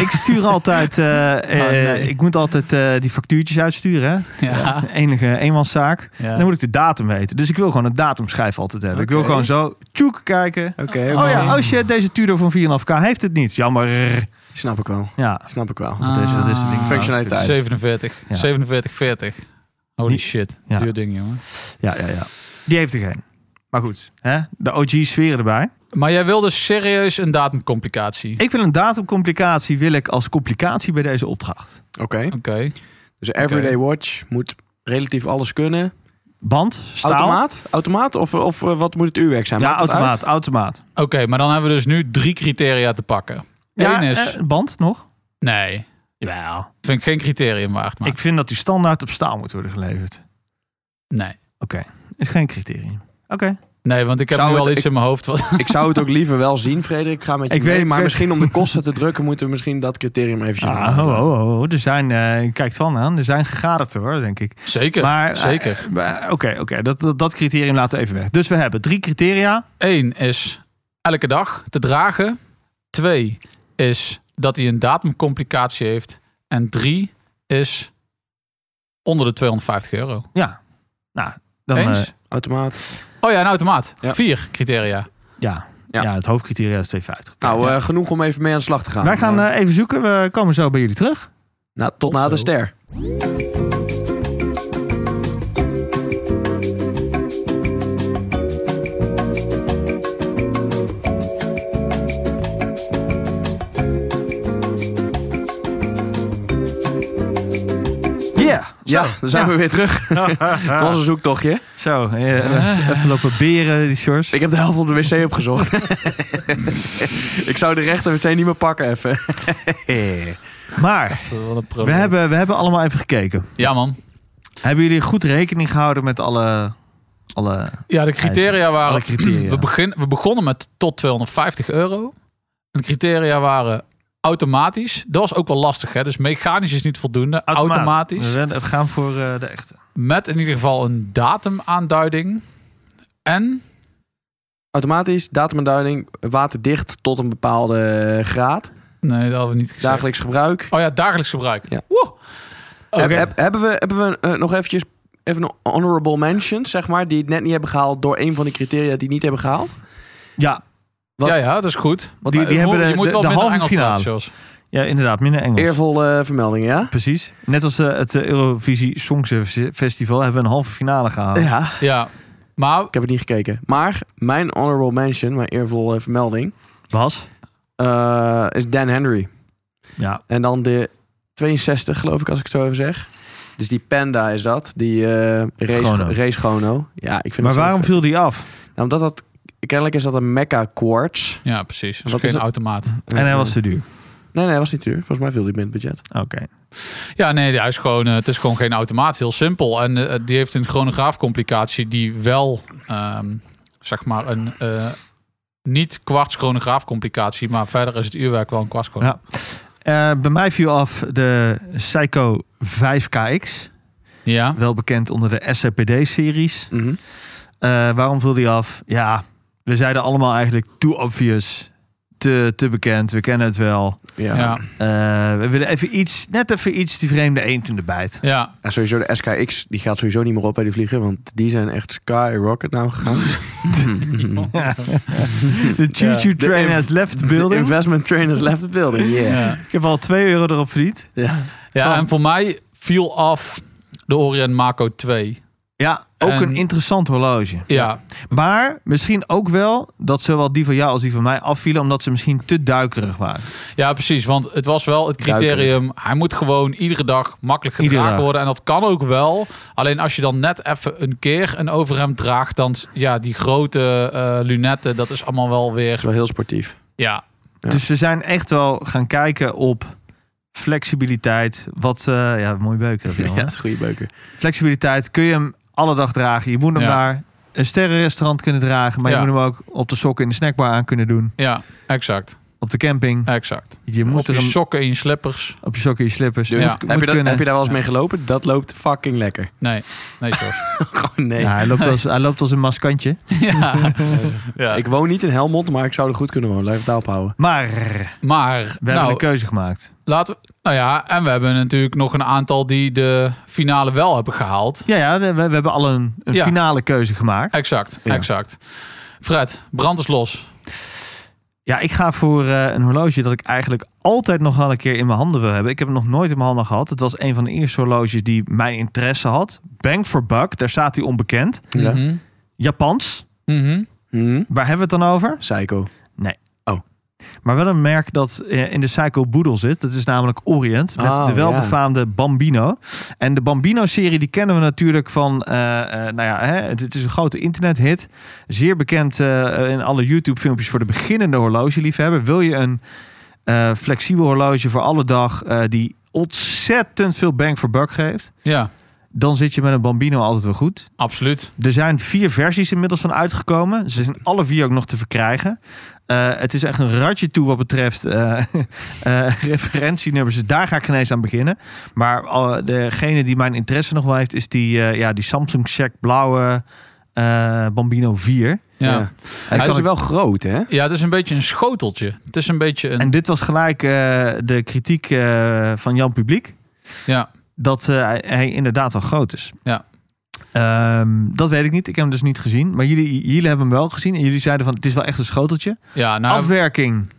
[SPEAKER 3] Ik stuur altijd... eh, eh,
[SPEAKER 2] Oh, nee.
[SPEAKER 3] Ik moet altijd eh, die factuurtjes uitsturen. Hè?
[SPEAKER 2] Ja.
[SPEAKER 3] Enige eenmanszaak.
[SPEAKER 2] ja.
[SPEAKER 3] Dan moet ik de datum weten. Dus ik wil gewoon een datumschijf altijd hebben. Ik wil
[SPEAKER 4] Oké.
[SPEAKER 3] gewoon zo tjoek kijken.
[SPEAKER 4] Oké,
[SPEAKER 3] Oh ja, oh shit, deze Tudor van 4,5k heeft het niet. Jammer.
[SPEAKER 4] Snap ik wel.
[SPEAKER 3] Ja,
[SPEAKER 4] Snap ik wel.
[SPEAKER 2] Ah.
[SPEAKER 3] dat is, dat is het ding.
[SPEAKER 4] Functionaliteit.
[SPEAKER 2] 47.
[SPEAKER 3] Ja.
[SPEAKER 2] 47, 40. Holy
[SPEAKER 3] Niet-
[SPEAKER 2] shit.
[SPEAKER 3] Ja.
[SPEAKER 2] Duur ding, jongen.
[SPEAKER 3] Ja, ja, ja. Die heeft er geen. Maar goed, hè? de OG-sferen erbij.
[SPEAKER 2] Maar jij wilde serieus een datumcomplicatie.
[SPEAKER 3] Ik wil een datumcomplicatie wil ik als complicatie bij deze opdracht.
[SPEAKER 4] Oké.
[SPEAKER 2] Oké.
[SPEAKER 4] Dus een everyday watch moet relatief alles kunnen.
[SPEAKER 3] Band, staal.
[SPEAKER 4] Automaat? Automaat? Of, of eh, wat moet het uurwerk zijn?
[SPEAKER 3] Ja,
[SPEAKER 4] Maakt dat uit?
[SPEAKER 3] automaat, automaat.
[SPEAKER 2] Oké, maar dan hebben we dus nu drie criteria te pakken.
[SPEAKER 3] Ja,
[SPEAKER 2] Eén is...
[SPEAKER 3] eh, band nog?
[SPEAKER 2] Nee,
[SPEAKER 3] Wel.
[SPEAKER 2] vind ik geen criterium waard. Maar.
[SPEAKER 3] Ik vind dat die standaard op staal moet worden geleverd.
[SPEAKER 2] Nee.
[SPEAKER 3] Oké, is geen criterium. Oké.
[SPEAKER 2] nee, want ik heb
[SPEAKER 4] Zou
[SPEAKER 2] nu
[SPEAKER 4] het-
[SPEAKER 2] al iets
[SPEAKER 4] ik-
[SPEAKER 2] in mijn hoofd. Wat...
[SPEAKER 4] Ik zou het ook liever wel zien, Frederik. Ik ga met je
[SPEAKER 3] Ik
[SPEAKER 4] mee,
[SPEAKER 3] weet het,
[SPEAKER 4] maar
[SPEAKER 3] ik-
[SPEAKER 4] misschien om de kosten te drukken... moeten we misschien dat criterium eventjes...
[SPEAKER 3] Ah,
[SPEAKER 4] aanhouden.
[SPEAKER 3] oh, oh, oh. Er zijn, eh, ik kijk het van aan, er zijn gegadigden hoor, denk ik.
[SPEAKER 2] Zeker,
[SPEAKER 3] Maar,
[SPEAKER 2] zeker.
[SPEAKER 3] eh, maar, Oké, oké. dat, dat, dat criterium laten we even weg. Dus we hebben drie criteria.
[SPEAKER 2] Eén is elke dag te dragen. Twee is dat hij een datumcomplicatie heeft. En drie is onder de 250 euro.
[SPEAKER 3] Dan,
[SPEAKER 2] Eens?
[SPEAKER 3] eh,
[SPEAKER 4] Automaat.
[SPEAKER 2] Oh ja, een automaat.
[SPEAKER 4] Ja.
[SPEAKER 2] Vier criteria.
[SPEAKER 3] ja. Ja.
[SPEAKER 4] Ja.
[SPEAKER 3] het hoofdcriteria is 250. Oké,
[SPEAKER 4] Nou,
[SPEAKER 3] ja.
[SPEAKER 4] eh, genoeg om even mee aan de slag te gaan.
[SPEAKER 3] Wij gaan
[SPEAKER 4] Eh,
[SPEAKER 3] eh, even zoeken. We komen zo bij jullie terug.
[SPEAKER 4] nou, tot
[SPEAKER 2] tot
[SPEAKER 4] na de
[SPEAKER 2] zo.
[SPEAKER 4] ster.
[SPEAKER 3] Yeah.
[SPEAKER 4] Ja,
[SPEAKER 3] Zo.
[SPEAKER 4] dan zijn we weer terug. Het was een zoektochtje.
[SPEAKER 3] Zo, eh, even lopen beren, die shorts.
[SPEAKER 4] Ik heb de helft op de wc opgezocht. ik zou de rechter wc niet meer pakken even.
[SPEAKER 3] Maar
[SPEAKER 2] Wat een
[SPEAKER 3] we
[SPEAKER 2] probleem.
[SPEAKER 3] hebben, we hebben allemaal even gekeken.
[SPEAKER 2] Ja, man.
[SPEAKER 3] Hebben jullie goed rekening gehouden met alle... alle
[SPEAKER 2] Ja, de criteria
[SPEAKER 3] alle
[SPEAKER 2] waren...
[SPEAKER 3] criteria?
[SPEAKER 2] We, begin, we begonnen met tot 250 euro. En de criteria waren automatisch. Dat was ook wel lastig, hè? Dus mechanisch is niet voldoende.
[SPEAKER 3] Automaat.
[SPEAKER 2] Automatisch.
[SPEAKER 3] We ren- we gaan voor eh, de echte.
[SPEAKER 2] Met in ieder geval een datumaanduiding. En
[SPEAKER 4] Automatisch, datumaanduiding, waterdicht tot een bepaalde graad.
[SPEAKER 2] Nee, dat hadden we niet gezegd.
[SPEAKER 4] Dagelijks gebruik.
[SPEAKER 2] Oh ja, dagelijks gebruik.
[SPEAKER 4] Ja.
[SPEAKER 2] Woe! Oké.
[SPEAKER 4] Heb- heb- hebben we, hebben we eh, nog eventjes even een honorable mentions, zeg maar, die het net niet hebben gehaald door een van de criteria die niet hebben gehaald?
[SPEAKER 3] Ja,
[SPEAKER 4] wat-
[SPEAKER 2] Ja, ja, dat is goed.
[SPEAKER 3] want die,
[SPEAKER 2] Maar
[SPEAKER 3] die
[SPEAKER 2] je
[SPEAKER 3] hebben
[SPEAKER 2] moet-
[SPEAKER 3] de,
[SPEAKER 2] je moet
[SPEAKER 3] de-
[SPEAKER 2] wel
[SPEAKER 3] de
[SPEAKER 2] minder
[SPEAKER 3] halve
[SPEAKER 2] Engels
[SPEAKER 3] finale.
[SPEAKER 2] praten, Jos.
[SPEAKER 3] Ja, inderdaad, minder Engels.
[SPEAKER 4] Eervolle vermeldingen, ja?
[SPEAKER 3] Precies. Net als eh, het eh, Eurovisie Songfestival Festival hebben we een halve finale gehaald.
[SPEAKER 4] Ja.
[SPEAKER 2] Ja, maar
[SPEAKER 4] Ik heb het niet gekeken. Maar mijn honorable mention, mijn eervolle vermelding,
[SPEAKER 3] Was?
[SPEAKER 4] eh, is Dan Henry.
[SPEAKER 3] Ja.
[SPEAKER 4] En dan de 62, geloof ik, als ik het zo even zeg. Dus die Panda is dat, die eh race,
[SPEAKER 3] Gono.
[SPEAKER 4] race Gono. Ja, ik vind
[SPEAKER 3] Maar
[SPEAKER 4] het zo
[SPEAKER 3] waarom
[SPEAKER 4] vet.
[SPEAKER 3] viel die af?
[SPEAKER 4] Nou, omdat dat, kennelijk is dat een Mecca Quartz.
[SPEAKER 2] ja, precies. Dat is
[SPEAKER 4] Wat
[SPEAKER 2] geen
[SPEAKER 4] is het?
[SPEAKER 2] automaat.
[SPEAKER 3] En hij was te duur.
[SPEAKER 4] Nee, nee, hij was niet duur. Volgens mij viel die binnen het budget.
[SPEAKER 3] Oké.
[SPEAKER 2] Ja, nee, hij is gewoon, eh, het is gewoon geen automaat. Heel simpel. En eh, die heeft een chronograafcomplicatie die wel, ehm, zeg maar, een eh, niet kwarts chronograafcomplicatie. Maar verder is het uurwerk wel een kwarts chronograaf.
[SPEAKER 3] Eh, bij mij viel af de Psycho 5KX.
[SPEAKER 2] Ja.
[SPEAKER 3] Wel bekend onder de SCPD-series.
[SPEAKER 4] Mhm.
[SPEAKER 3] Eh, waarom viel die af? Ja, we zeiden allemaal eigenlijk too obvious. Te, te bekend, we kennen het wel.
[SPEAKER 4] Ja.
[SPEAKER 2] ja. ja.
[SPEAKER 3] Eh, we willen even iets, net even iets die vreemde eend in de bijt.
[SPEAKER 4] En sowieso de SKX, die gaat sowieso niet meer op bij die vliegen. Want die zijn echt skyrocket nou gegaan.
[SPEAKER 3] De choo-choo
[SPEAKER 2] Ja.
[SPEAKER 4] De
[SPEAKER 3] train
[SPEAKER 4] inv-
[SPEAKER 3] has left the
[SPEAKER 4] De
[SPEAKER 3] building.
[SPEAKER 4] investment trainers left the building, yeah.
[SPEAKER 2] ja.
[SPEAKER 3] Ik heb al 2 euro erop verdiend.
[SPEAKER 4] Ja.
[SPEAKER 2] Ja,
[SPEAKER 3] Van-
[SPEAKER 2] en voor mij viel af de Orient Mako 2.
[SPEAKER 3] Ja, ook
[SPEAKER 2] En-
[SPEAKER 3] een interessant horloge.
[SPEAKER 2] Ja,
[SPEAKER 3] Maar misschien ook wel dat zowel die van jou als die van mij afvielen... omdat ze misschien te duikerig waren.
[SPEAKER 2] ja, precies. Want het was wel het criterium. Hij moet gewoon iedere dag makkelijk
[SPEAKER 3] Iedere
[SPEAKER 2] gedragen
[SPEAKER 3] dag.
[SPEAKER 2] worden. En dat kan ook wel. Alleen als je dan net even een keer een overhemd draagt... dan s- ja, die grote eh, lunetten, dat is allemaal wel
[SPEAKER 4] is
[SPEAKER 2] weer...
[SPEAKER 4] wel heel sportief.
[SPEAKER 2] Ja,
[SPEAKER 4] Ja.
[SPEAKER 3] Dus we zijn echt wel gaan kijken op flexibiliteit. Wat, eh, ja, mooi beuken. heb je al, hè?
[SPEAKER 4] Ja, het goede beuken.
[SPEAKER 3] Flexibiliteit, kun je hem alle dag dragen. Je moet hem
[SPEAKER 2] Ja.
[SPEAKER 3] naar een sterrenrestaurant kunnen dragen. Maar
[SPEAKER 2] Ja.
[SPEAKER 3] je moet hem ook op de sokken in de snackbar aan kunnen doen.
[SPEAKER 2] ja, exact.
[SPEAKER 3] Op de camping.
[SPEAKER 2] Exact.
[SPEAKER 3] Je moet
[SPEAKER 2] Op
[SPEAKER 3] er
[SPEAKER 2] je
[SPEAKER 3] hem
[SPEAKER 2] sokken in je slippers.
[SPEAKER 3] op je sokken in je slippers.
[SPEAKER 2] Ja.
[SPEAKER 3] Moet,
[SPEAKER 4] Heb
[SPEAKER 3] moet
[SPEAKER 4] je, dat,
[SPEAKER 3] kunnen.
[SPEAKER 4] heb je daar wel eens
[SPEAKER 2] Ja.
[SPEAKER 4] mee gelopen? Dat loopt fucking lekker.
[SPEAKER 2] Nee, nee, Jos.
[SPEAKER 4] Gewoon nee.
[SPEAKER 3] Ja, hij, loopt als, hij loopt als een maskantje.
[SPEAKER 2] ja. ja.
[SPEAKER 4] Ik woon niet in Helmond, maar ik zou er goed kunnen wonen. Blijf het daarop houden.
[SPEAKER 3] Maar
[SPEAKER 2] Maar,
[SPEAKER 3] we hebben
[SPEAKER 2] nou,
[SPEAKER 3] een keuze gemaakt.
[SPEAKER 2] laten we... Nou ja, en we hebben natuurlijk nog een aantal die de finale wel hebben gehaald.
[SPEAKER 3] Ja, ja we, we hebben al een, een
[SPEAKER 2] Ja.
[SPEAKER 3] finale keuze gemaakt.
[SPEAKER 2] Exact,
[SPEAKER 4] Ja.
[SPEAKER 2] exact. Fred, brand is los.
[SPEAKER 3] Ja, ik ga voor eh, een horloge dat ik eigenlijk altijd nog wel een keer in mijn handen wil hebben. Ik heb het nog nooit in mijn handen gehad. Het was een van de eerste horloges die mijn interesse had. Bang for buck, daar staat hij onbekend.
[SPEAKER 4] Ja.
[SPEAKER 2] Mhm.
[SPEAKER 3] Japans,
[SPEAKER 2] Mhm.
[SPEAKER 4] Hm?
[SPEAKER 3] waar hebben we het dan over?
[SPEAKER 4] Psycho.
[SPEAKER 3] Maar wel een merk dat eh, in de Psycho Boedel zit. Dat is namelijk Orient. Met
[SPEAKER 4] Oh,
[SPEAKER 3] de welbefaamde Bambino. En de Bambino-serie die kennen we natuurlijk van... eh, eh, nou ja, hè, het, het is een grote internethit. Zeer bekend eh, in alle YouTube-filmpjes voor de beginnende horlogeliefhebber. Wil je een eh, flexibel horloge voor alle dag... eh, die ontzettend veel bang voor buck geeft...
[SPEAKER 2] Ja,
[SPEAKER 3] dan zit je met een Bambino altijd wel goed.
[SPEAKER 2] absoluut.
[SPEAKER 3] Er zijn vier versies inmiddels van uitgekomen. Ze zijn alle vier ook nog te verkrijgen. Eh, het is echt een ratje toe wat betreft eh, eh, referentienummers. Dus daar ga ik geen eens aan beginnen. Maar eh, degene die mijn interesse nog wel heeft, is die, eh, ja, die Samsung Check blauwe eh, Bambino 4. En
[SPEAKER 2] Ja.
[SPEAKER 4] Ja.
[SPEAKER 2] Ja.
[SPEAKER 4] Hij
[SPEAKER 3] kan
[SPEAKER 4] was
[SPEAKER 3] ik-
[SPEAKER 4] wel groot, hè?
[SPEAKER 2] het is een beetje een schoteltje. Het is een beetje een...
[SPEAKER 3] En dit was gelijk eh, de kritiek eh, van Jan Publiek.
[SPEAKER 2] Ja.
[SPEAKER 3] Dat eh, hij- hij inderdaad wel groot is.
[SPEAKER 2] Ja.
[SPEAKER 3] Ehm, dat weet ik niet. Ik heb hem dus niet gezien. Maar jullie, jullie hebben hem wel gezien. En jullie zeiden van het is wel echt een schoteltje.
[SPEAKER 2] Ja, nou,
[SPEAKER 3] Afwerking.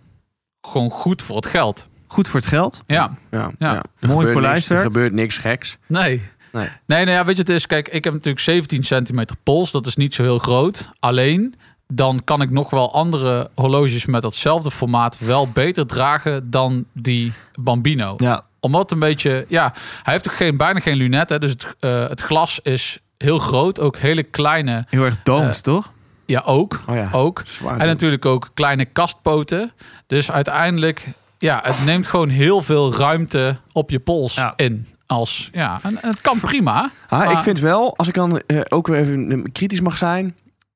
[SPEAKER 2] gewoon goed voor het geld.
[SPEAKER 3] Goed voor het geld.
[SPEAKER 2] Ja,
[SPEAKER 4] Ja.
[SPEAKER 2] Ja.
[SPEAKER 4] Er
[SPEAKER 3] Mooi
[SPEAKER 4] gebeurt niks-
[SPEAKER 3] polijstwerk.
[SPEAKER 4] Er gebeurt niks geks.
[SPEAKER 2] nee.
[SPEAKER 4] Nee.
[SPEAKER 2] Nee, nou ja, weet je, het is... Kijk, ik heb natuurlijk 17 centimeter pols. Dat is niet zo heel groot. Alleen, dan kan ik nog wel andere horloges met datzelfde formaat wel beter dragen dan die Bambino.
[SPEAKER 3] Ja.
[SPEAKER 2] Omdat het een beetje... Ja, hij heeft ook geen, bijna geen lunetten. Dus het, eh, het glas is heel groot. Ook hele kleine...
[SPEAKER 3] Heel erg
[SPEAKER 2] Eh,
[SPEAKER 3] domed, toch?
[SPEAKER 2] Ja, ook.
[SPEAKER 4] Oh ja.
[SPEAKER 2] Ook.
[SPEAKER 3] Ah,
[SPEAKER 4] Zwaar.
[SPEAKER 2] En natuurlijk ook kleine kastpoten. Dus uiteindelijk, ja, het neemt gewoon heel veel ruimte op je pols
[SPEAKER 3] Ja.
[SPEAKER 2] in. Als, ja, en, en het kan prima.
[SPEAKER 4] Ah,
[SPEAKER 2] maar-
[SPEAKER 4] Ik vind wel, als ik dan eh, ook weer even eh, kritisch mag zijn.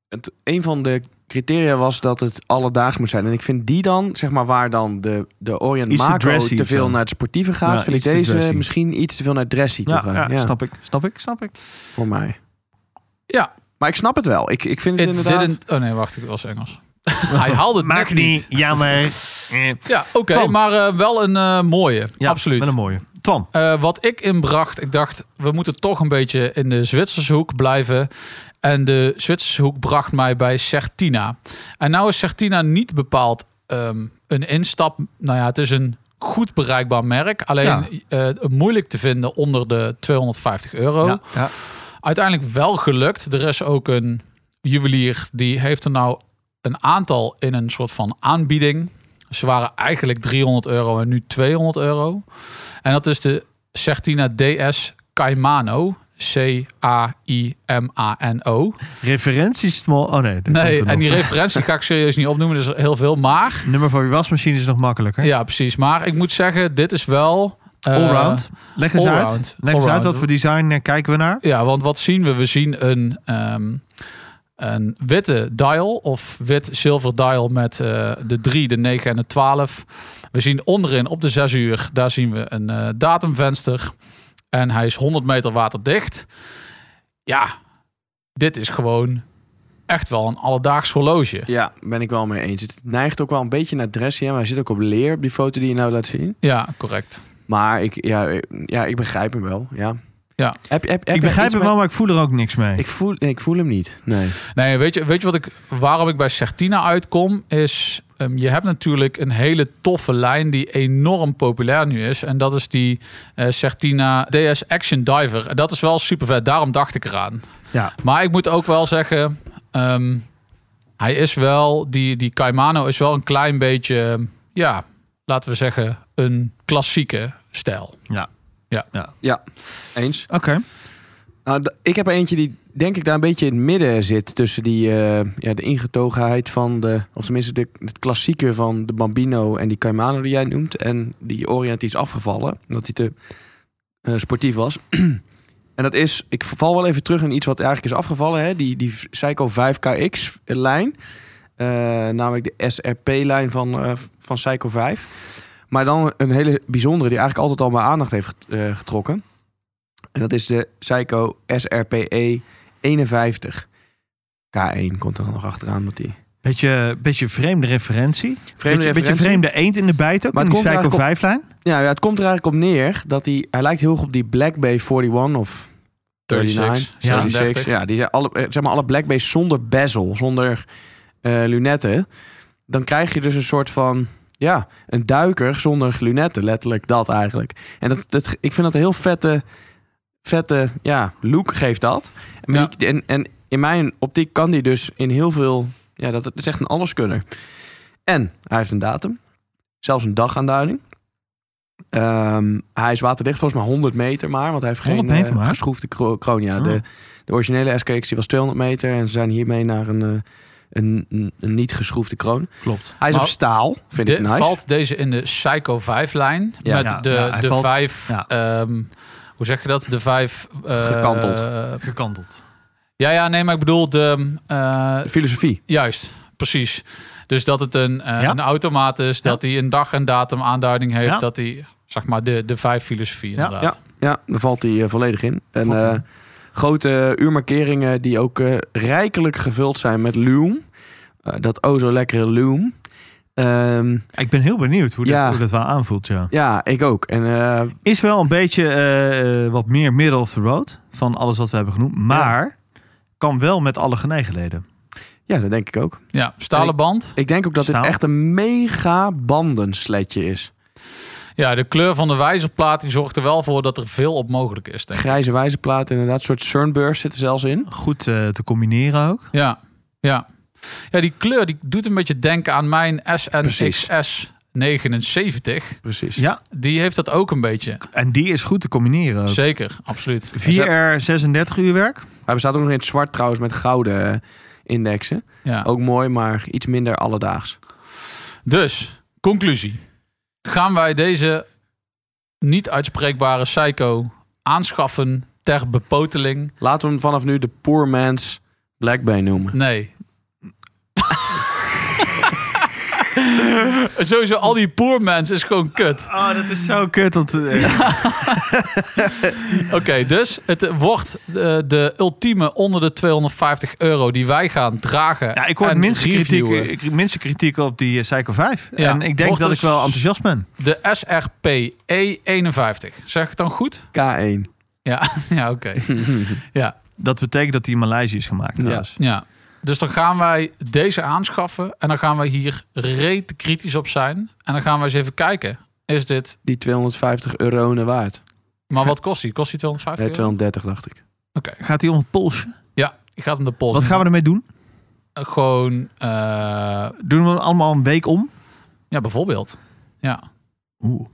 [SPEAKER 4] Het, een van de criteria was dat het alledaags moet zijn. En ik vind die dan, zeg maar, waar dan de, de Orient
[SPEAKER 3] Iets te
[SPEAKER 4] Macro
[SPEAKER 3] dressy
[SPEAKER 4] te
[SPEAKER 3] of
[SPEAKER 4] veel
[SPEAKER 3] zo.
[SPEAKER 4] naar het sportieve gaat,
[SPEAKER 3] Ja,
[SPEAKER 4] vind ik
[SPEAKER 3] iets te
[SPEAKER 4] deze
[SPEAKER 3] dressy.
[SPEAKER 4] misschien iets te veel naar het dressy toe
[SPEAKER 3] Ja,
[SPEAKER 4] gaan.
[SPEAKER 3] ja,
[SPEAKER 4] Ja,
[SPEAKER 3] snap ik. Snap ik, snap ik.
[SPEAKER 4] voor mij.
[SPEAKER 2] Ja.
[SPEAKER 4] Maar ik snap het wel. Ik, ik vind het
[SPEAKER 2] It
[SPEAKER 4] inderdaad...
[SPEAKER 2] didn't- oh nee, wacht, ik was Engels. Hij haalde het net
[SPEAKER 3] Maakt niet, jammer. Eh,
[SPEAKER 2] Ja, oké,
[SPEAKER 3] Tom.
[SPEAKER 2] maar eh, wel een eh, mooie.
[SPEAKER 3] Ja,
[SPEAKER 2] absoluut.
[SPEAKER 3] Met een mooie. Tom.
[SPEAKER 2] Eh, wat ik inbracht, ik dacht, we moeten toch een beetje in de Zwitserse hoek blijven. En de Zwitserse hoek bracht mij bij Certina. En nou is Certina niet bepaald ehm, een instap. Nou ja, het is een goed bereikbaar merk. Alleen
[SPEAKER 3] Ja.
[SPEAKER 2] eh, moeilijk te vinden onder de 250 euro.
[SPEAKER 3] Ja, ja.
[SPEAKER 2] Uiteindelijk wel gelukt. Er is ook een juwelier die heeft er nou een aantal in een soort van aanbieding. Ze waren eigenlijk 300 euro en nu 200 euro. En dat is de Certina DS Caimano. C-A-I-M-A-N-O.
[SPEAKER 3] Referenties. Tom. Oh nee. dat komt
[SPEAKER 2] Nee,
[SPEAKER 3] er
[SPEAKER 2] en
[SPEAKER 3] nog.
[SPEAKER 2] die referentie ga ik serieus niet opnoemen. Er is heel veel. Maar,
[SPEAKER 3] Nummer voor je wasmachine is nog makkelijker.
[SPEAKER 2] ja precies. Maar ik moet zeggen, dit is wel... eh,
[SPEAKER 3] Allround. Leg eens
[SPEAKER 2] allround.
[SPEAKER 3] uit. Leg eens uit
[SPEAKER 2] Allround.
[SPEAKER 3] wat voor design eh, kijken we naar.
[SPEAKER 2] Ja, want wat zien we? We zien een, ehm, een witte dial of wit-zilver dial met eh, de 3, de 9 en de 12. We zien onderin op de 6 uur, daar zien we een eh, datumvenster. En hij is 100 meter waterdicht. Ja, dit is gewoon echt wel een alledaags horloge.
[SPEAKER 4] Ja, ben ik wel mee eens. Het neigt ook wel een beetje naar dressy. hè, Maar hij zit ook op leer op die foto die je nou laat zien.
[SPEAKER 2] Ja, correct.
[SPEAKER 4] Maar ik, ja, eh, ja, ik begrijp hem wel. Ja.
[SPEAKER 2] Ja.
[SPEAKER 4] Heb, heb, heb jij
[SPEAKER 3] Ik begrijp
[SPEAKER 4] iets
[SPEAKER 3] het wel, maar ik voel er ook niks mee.
[SPEAKER 4] met- Ik voel, nee, ik voel hem niet. Nee.
[SPEAKER 2] Nee, weet je, weet je wat ik, waarom ik bij Certina uitkom? Is ehm, je hebt natuurlijk een hele toffe lijn die enorm populair nu is. En dat is die eh, Certina DS Action Diver. En dat is wel super vet, daarom dacht ik eraan.
[SPEAKER 3] Ja.
[SPEAKER 2] Maar ik moet ook wel zeggen, ehm, hij is wel, die, die Caimano is wel een klein beetje, ja, laten we zeggen, een klassieke stijl.
[SPEAKER 4] Eens.
[SPEAKER 3] Oké.
[SPEAKER 4] Nou, d- ik heb er eentje die denk ik daar een beetje in het midden zit. Tussen die, eh, ja, de ingetogenheid van de... Of tenminste de, het klassieke van de Bambino en die Caimano die jij noemt. En die Orient die is afgevallen. Omdat hij te eh, sportief was. en dat is... Ik val wel even terug in iets wat eigenlijk is afgevallen. Hè? Die, die Seiko 5KX lijn. Eh, namelijk de SRP-lijn van, eh, van Seiko 5. Maar dan een hele bijzondere die eigenlijk altijd al mijn aandacht heeft get- eh, getrokken. En dat is de Seiko SRPE 51. K1 komt er dan nog achteraan. Omdat die
[SPEAKER 3] Beetje, beetje vreemde referentie.
[SPEAKER 4] vreemde
[SPEAKER 3] beetje, beetje
[SPEAKER 4] referentie.
[SPEAKER 3] vreemde eend in de bijt ook.
[SPEAKER 4] Maar
[SPEAKER 3] Maar
[SPEAKER 4] het
[SPEAKER 3] die
[SPEAKER 4] komt
[SPEAKER 3] Psycho
[SPEAKER 4] eigenlijk
[SPEAKER 3] 5-lijn.
[SPEAKER 4] Ja, ja, het komt er eigenlijk op neer dat hij... Hij lijkt heel erg op die Black Bay 41 of 39.
[SPEAKER 2] 36,
[SPEAKER 4] 36. Ja, die zijn alle, eh, zeg maar alle Black Bays zonder bezel, zonder eh, lunetten. Dan krijg je dus een soort van... Ja, een duiker zonder lunetten. Letterlijk dat eigenlijk. En dat, dat, ik vind dat een heel vette, vette ja, look geeft dat. En,
[SPEAKER 2] Ja.
[SPEAKER 4] die- en, en in mijn optiek kan die dus in heel veel... Ja, dat, het is echt een alleskunner. En hij heeft een datum. Zelfs een dagaanduiding. Ehm, hij is waterdicht, volgens mij 100 meter maar. Want hij heeft
[SPEAKER 3] 100
[SPEAKER 4] geen eh,
[SPEAKER 3] meter maar?
[SPEAKER 4] geschroefde kro- kroon. Ja, de,
[SPEAKER 3] Oh.
[SPEAKER 4] de originele SKX die was 200 meter. En ze zijn hiermee naar een, eh, een, een, een niet geschroefde kroon.
[SPEAKER 3] Klopt.
[SPEAKER 4] Hij is
[SPEAKER 2] Maar
[SPEAKER 4] op staal, vind
[SPEAKER 2] Dit
[SPEAKER 4] ik nice.
[SPEAKER 2] Valt deze in de Psycho 5-lijn?
[SPEAKER 4] Ja.
[SPEAKER 2] met
[SPEAKER 3] Ja,
[SPEAKER 2] de,
[SPEAKER 3] ja, hij
[SPEAKER 2] de
[SPEAKER 3] valt-
[SPEAKER 2] vijf...
[SPEAKER 3] ja.
[SPEAKER 2] ehm, hoe zeg je dat? De vijf... eh,
[SPEAKER 4] Gekanteld.
[SPEAKER 3] Gekanteld.
[SPEAKER 2] Ja, ja, nee, maar ik bedoel de... eh,
[SPEAKER 4] De filosofie.
[SPEAKER 2] juist, precies. Dus dat het een, eh,
[SPEAKER 3] Ja.
[SPEAKER 2] een automaat is. Dat hij een dag- en datum aanduiding heeft.
[SPEAKER 3] Ja.
[SPEAKER 2] Dat hij, zeg maar, de, de vijf filosofie inderdaad.
[SPEAKER 4] ja. Ja, daar valt hij eh, volledig in. En
[SPEAKER 3] Valt hij
[SPEAKER 4] eh, grote uurmarkeringen die ook eh, rijkelijk gevuld zijn met loom. Eh, dat o zo lekkere loom. Ehm,
[SPEAKER 3] Ik ben heel benieuwd hoe,
[SPEAKER 4] Ja.
[SPEAKER 3] dat, hoe dat wel aanvoelt, ja.
[SPEAKER 4] ja, ik ook. En eh,
[SPEAKER 3] Is wel een beetje eh, eh, wat meer middle of the road van alles wat we hebben genoemd. Maar kan wel met alle genegenheden.
[SPEAKER 4] ja, dat denk ik ook.
[SPEAKER 2] Ja, stalen band.
[SPEAKER 4] Ik denk ook dat
[SPEAKER 3] Staal.
[SPEAKER 4] dit echt een mega bandensletje is.
[SPEAKER 2] Ja, de kleur van de wijzerplaat die zorgt er wel voor dat er veel op mogelijk is. Denk ik.
[SPEAKER 4] Grijze wijzerplaat inderdaad. Een soort sunburst zit er zelfs in.
[SPEAKER 3] Goed eh, te combineren ook.
[SPEAKER 2] Ja, ja. Ja, die kleur die doet een beetje denken aan mijn
[SPEAKER 4] Precies.
[SPEAKER 2] SNXS 79,
[SPEAKER 4] Precies.
[SPEAKER 3] Ja,
[SPEAKER 2] die heeft dat ook een beetje.
[SPEAKER 3] en die is goed te combineren. Ook.
[SPEAKER 2] Zeker, absoluut.
[SPEAKER 3] 4R 36 uur werk.
[SPEAKER 4] Hij bestaat ook nog in het zwart trouwens met gouden eh, indexen.
[SPEAKER 2] Ja.
[SPEAKER 4] Ook mooi, maar iets minder alledaags.
[SPEAKER 2] Dus, conclusie. Gaan wij deze niet uitspreekbare psycho aanschaffen ter bepoteling?
[SPEAKER 4] Laten we hem vanaf nu de poor man's Black Bay noemen.
[SPEAKER 2] Nee. Sowieso, al die poor mensen is gewoon kut.
[SPEAKER 3] Oh, dat is zo kut. Want, eh,
[SPEAKER 2] Oké, dus het eh, wordt eh, de ultieme onder de 250 euro die wij gaan dragen.
[SPEAKER 3] ja, ik hoor
[SPEAKER 2] en
[SPEAKER 3] minste kritiek,
[SPEAKER 2] reviewen.
[SPEAKER 3] ik- minste kritiek op die eh, Psycho 5.
[SPEAKER 2] Ja,
[SPEAKER 3] en ik denk
[SPEAKER 2] wordt
[SPEAKER 3] dat
[SPEAKER 2] dus-
[SPEAKER 3] ik wel enthousiast ben.
[SPEAKER 2] De SRPE 51. E Zeg ik het dan goed?
[SPEAKER 4] K1.
[SPEAKER 2] Ja, ja oké. Ja,
[SPEAKER 3] Dat betekent dat die in Maleisië is gemaakt.
[SPEAKER 4] Ja.
[SPEAKER 3] trouwens.
[SPEAKER 2] ja. Dus dan gaan wij deze aanschaffen. En dan gaan wij hier reet kritisch op zijn. En dan gaan wij eens even kijken. Is dit...
[SPEAKER 4] Die 250 euronen waard.
[SPEAKER 2] Maar wat kost die? Kost die 250
[SPEAKER 4] Nee,
[SPEAKER 2] euro?
[SPEAKER 4] 230 dacht ik.
[SPEAKER 3] Gaat die om het polsje?
[SPEAKER 2] Ja, je gaat hem de pols.
[SPEAKER 3] Wat gaan we ermee doen?
[SPEAKER 2] doen? Gewoon... eh,
[SPEAKER 3] Doen we hem allemaal een week om?
[SPEAKER 2] ja, bijvoorbeeld. Ja.
[SPEAKER 3] Oeh,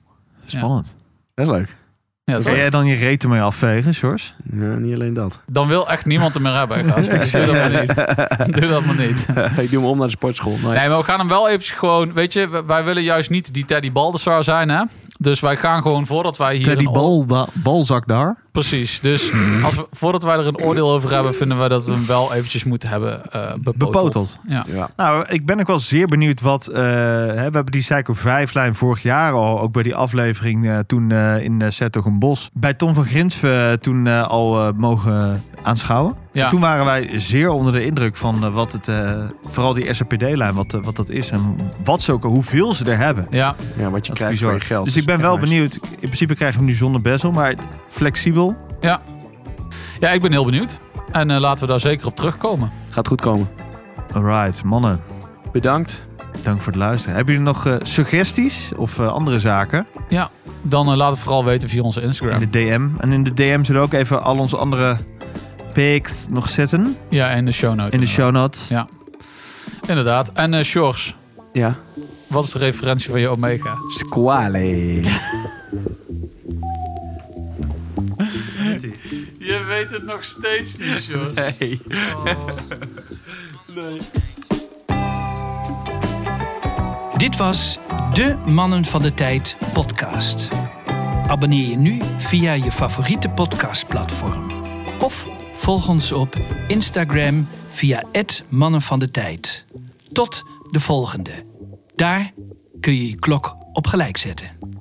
[SPEAKER 3] spannend.
[SPEAKER 4] Dat is leuk.
[SPEAKER 2] ja dat is
[SPEAKER 3] Kan
[SPEAKER 2] leuk.
[SPEAKER 3] jij dan je reten mee afvegen, Sjors?
[SPEAKER 4] Ja, niet alleen dat.
[SPEAKER 2] Dan wil echt niemand hem meer hebben. gast. Dus Doe dat maar niet. Doe dat maar niet.
[SPEAKER 4] ik doe hem om naar de sportschool. Nice.
[SPEAKER 2] Nee, maar we gaan hem wel eventjes gewoon... Weet je, w- wij willen juist niet die Teddy Baldessar zijn, hè? Dus wij gaan gewoon voordat wij hier... een oor-
[SPEAKER 3] balzak daar.
[SPEAKER 2] Precies. Dus
[SPEAKER 3] Mhm.
[SPEAKER 2] als we, voordat wij er een oordeel over hebben... vinden wij dat we hem wel eventjes moeten hebben eh bepoteld.
[SPEAKER 3] Bepoteld.
[SPEAKER 2] Ja.
[SPEAKER 4] Ja.
[SPEAKER 3] Nou, ik ben ook wel zeer benieuwd wat... eh, hè, we hebben die Psycho 5-lijn vorig jaar al, ook bij die aflevering eh, toen eh, in uh, Bos. Bij Tom van Grinsven toen eh, al eh, mogen aanschouwen.
[SPEAKER 2] Ja.
[SPEAKER 3] Toen waren wij zeer onder de indruk van eh, wat het, eh, vooral die SRPD-lijn, wat, eh, wat dat is en wat ze ook, hoeveel ze er hebben.
[SPEAKER 2] ja,
[SPEAKER 4] Ja, wat je
[SPEAKER 3] Dat is
[SPEAKER 4] krijgt
[SPEAKER 3] bizar.
[SPEAKER 4] voor je geld.
[SPEAKER 3] Dus ik ben
[SPEAKER 4] Ja,
[SPEAKER 3] wel
[SPEAKER 4] nice.
[SPEAKER 3] benieuwd. In principe krijg je hem nu zonder bezel, maar flexibel.
[SPEAKER 2] ja, ik ben heel benieuwd. En eh, laten we daar zeker op terugkomen.
[SPEAKER 4] Gaat goed komen.
[SPEAKER 3] Alright, mannen,
[SPEAKER 4] Bedankt.
[SPEAKER 3] dank voor het luisteren. Hebben jullie nog eh, suggesties of eh, andere zaken?
[SPEAKER 2] Dan eh, laat het vooral weten via onze Instagram.
[SPEAKER 3] In de DM. En in de DM zullen we ook even al onze andere pics nog zetten
[SPEAKER 2] Ja, en de show notes.
[SPEAKER 3] in de show notes.
[SPEAKER 2] Ja. Inderdaad. En eh Sjors,
[SPEAKER 4] Ja.
[SPEAKER 2] wat is de referentie van je Omega?
[SPEAKER 4] Squale.
[SPEAKER 2] Je weet het nog steeds niet, Sjors.
[SPEAKER 4] Hey.
[SPEAKER 1] Dit was de Mannen van de Tijd podcast. Abonneer je nu via je favoriete podcastplatform. Of volg ons op Instagram via het Mannen van de Tijd. Tot de volgende. Daar kun je je klok op gelijk zetten.